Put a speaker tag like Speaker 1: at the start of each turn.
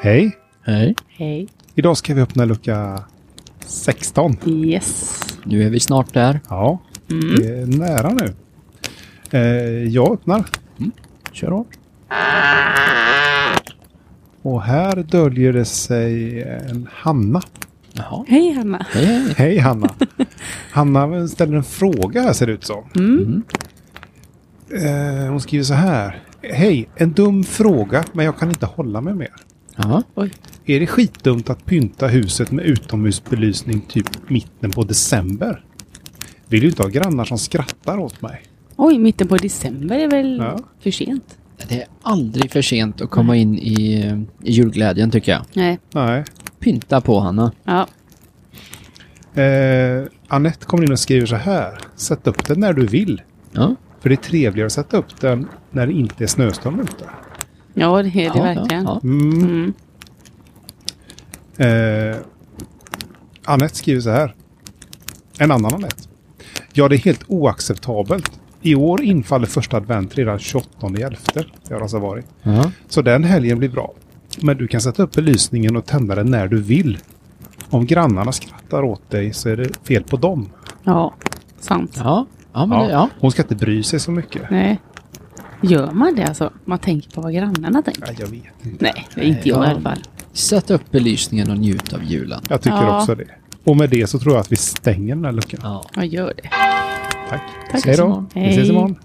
Speaker 1: Hej!
Speaker 2: Hej.
Speaker 3: Hej.
Speaker 1: Idag ska vi öppna lucka 16.
Speaker 3: Yes.
Speaker 2: Nu är vi snart där.
Speaker 1: Ja, Mm. det är nära nu. Eh, jag öppnar.
Speaker 2: Kör hårt.
Speaker 1: Och här döljer det sig en Hanna.
Speaker 2: Jaha.
Speaker 3: Hej Hanna.
Speaker 2: Hej, hej.
Speaker 1: Hej Hanna! Hanna ställer en fråga här ser det ut som. Eh, hon skriver så här. Hej, en dum fråga men jag kan inte hålla mig mer.
Speaker 2: Jaha.
Speaker 3: Oj.
Speaker 1: Är det skitdumt att pynta huset med utomhusbelysning typ mitten på december? Vill ju inte ha grannar som skrattar åt mig.
Speaker 3: Oj, mitten på december är väl
Speaker 1: Ja.
Speaker 3: för sent?
Speaker 2: Det är aldrig för sent att komma in i, eh, i julglädjen tycker jag.
Speaker 3: Nej.
Speaker 1: Nej.
Speaker 2: Pynta på Hanna.
Speaker 3: Ja.
Speaker 1: Eh, Annette kommer in och skriver så här. Sätt upp den när du vill.
Speaker 2: Ja.
Speaker 1: För det är trevligare att sätta upp den när det inte är snöstorm ute.
Speaker 3: Ja, det är det
Speaker 2: ja,
Speaker 3: verkligen.
Speaker 2: Ja,
Speaker 1: Mm. Eh, Annette skriver så här. En annan Annette. Ja, det är helt oacceptabelt. I år infaller första advent redan 28 elfte. Det har alltså varit.
Speaker 2: ja. ja.
Speaker 1: Så den helgen blir bra. Men du kan sätta upp belysningen och tända den när du vill. Om grannarna skrattar åt dig så är det fel på dem.
Speaker 3: Ja, sant.
Speaker 2: ja. ja men
Speaker 1: Ja.
Speaker 2: Det, ja.
Speaker 1: Hon ska inte bry sig så mycket.
Speaker 3: Nej. Gör man det alltså? Man tänker på vad grannarna tänker?
Speaker 1: Nej, jag vet inte.
Speaker 3: Nej, det är inte jag i alla fall.
Speaker 2: Sätt upp belysningen och njut av julen.
Speaker 1: Jag tycker
Speaker 3: Ja.
Speaker 1: också det. Och med det så tror jag att vi stänger den här luckan.
Speaker 2: Ja.
Speaker 3: Jag gör det.
Speaker 1: Tack.
Speaker 3: Tack.
Speaker 1: Hej då.
Speaker 2: imorgon.
Speaker 1: Vi ses
Speaker 3: Hej.
Speaker 1: imorgon.